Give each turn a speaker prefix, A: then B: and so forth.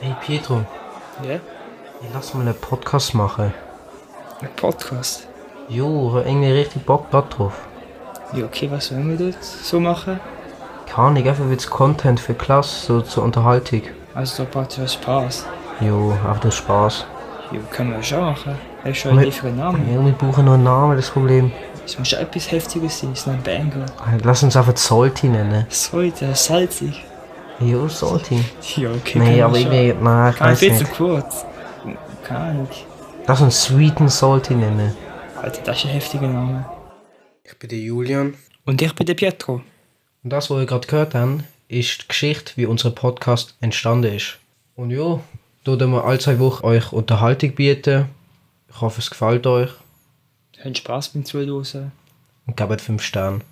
A: Hey Pietro,
B: Ja?
A: lass mal einen Podcast machen.
B: Ein Podcast.
A: Jo, hab irgendwie richtig Bock da drauf.
B: Ja, okay, was wollen wir dort so machen?
A: Keine Ahnung, einfach wird's Content für Klasse, so zur Unterhaltung.
B: Also da braucht ja Spaß.
A: Jo, auf den Spaß.
B: Ja, können wir schon machen. Er ist schon ein
A: Nee.
B: tieferer Name.
A: Irgendwie brauchen noch einen Namen, das Problem.
B: Es muss schon etwas Heftiges sein, es ist ein Banger.
A: Lass uns einfach Salty nennen.
B: Sollte, salzig.
A: Jo, Salty.
B: Ja, okay. können
A: Nee,
B: wir
A: aber
B: schon.
A: irgendwie, nein, ich
B: Kann ich
A: weiß
B: viel zu
A: nicht.
B: kurz. Keine Ahnung.
A: Lass uns Sweet and Salty nennen.
B: Alter, das ist ein heftiger Name.
A: Ich bin der Julian.
B: Und ich bin der Pietro.
A: Und das, was ihr gerade gehört habt, ist die Geschichte, wie unser Podcast entstanden ist. Und ja, da werden wir alle zwei Wochen euch Unterhaltung bieten. Ich hoffe, es gefällt euch.
B: Habt Spaß beim Zuhören.
A: Und gebt 5 Sterne.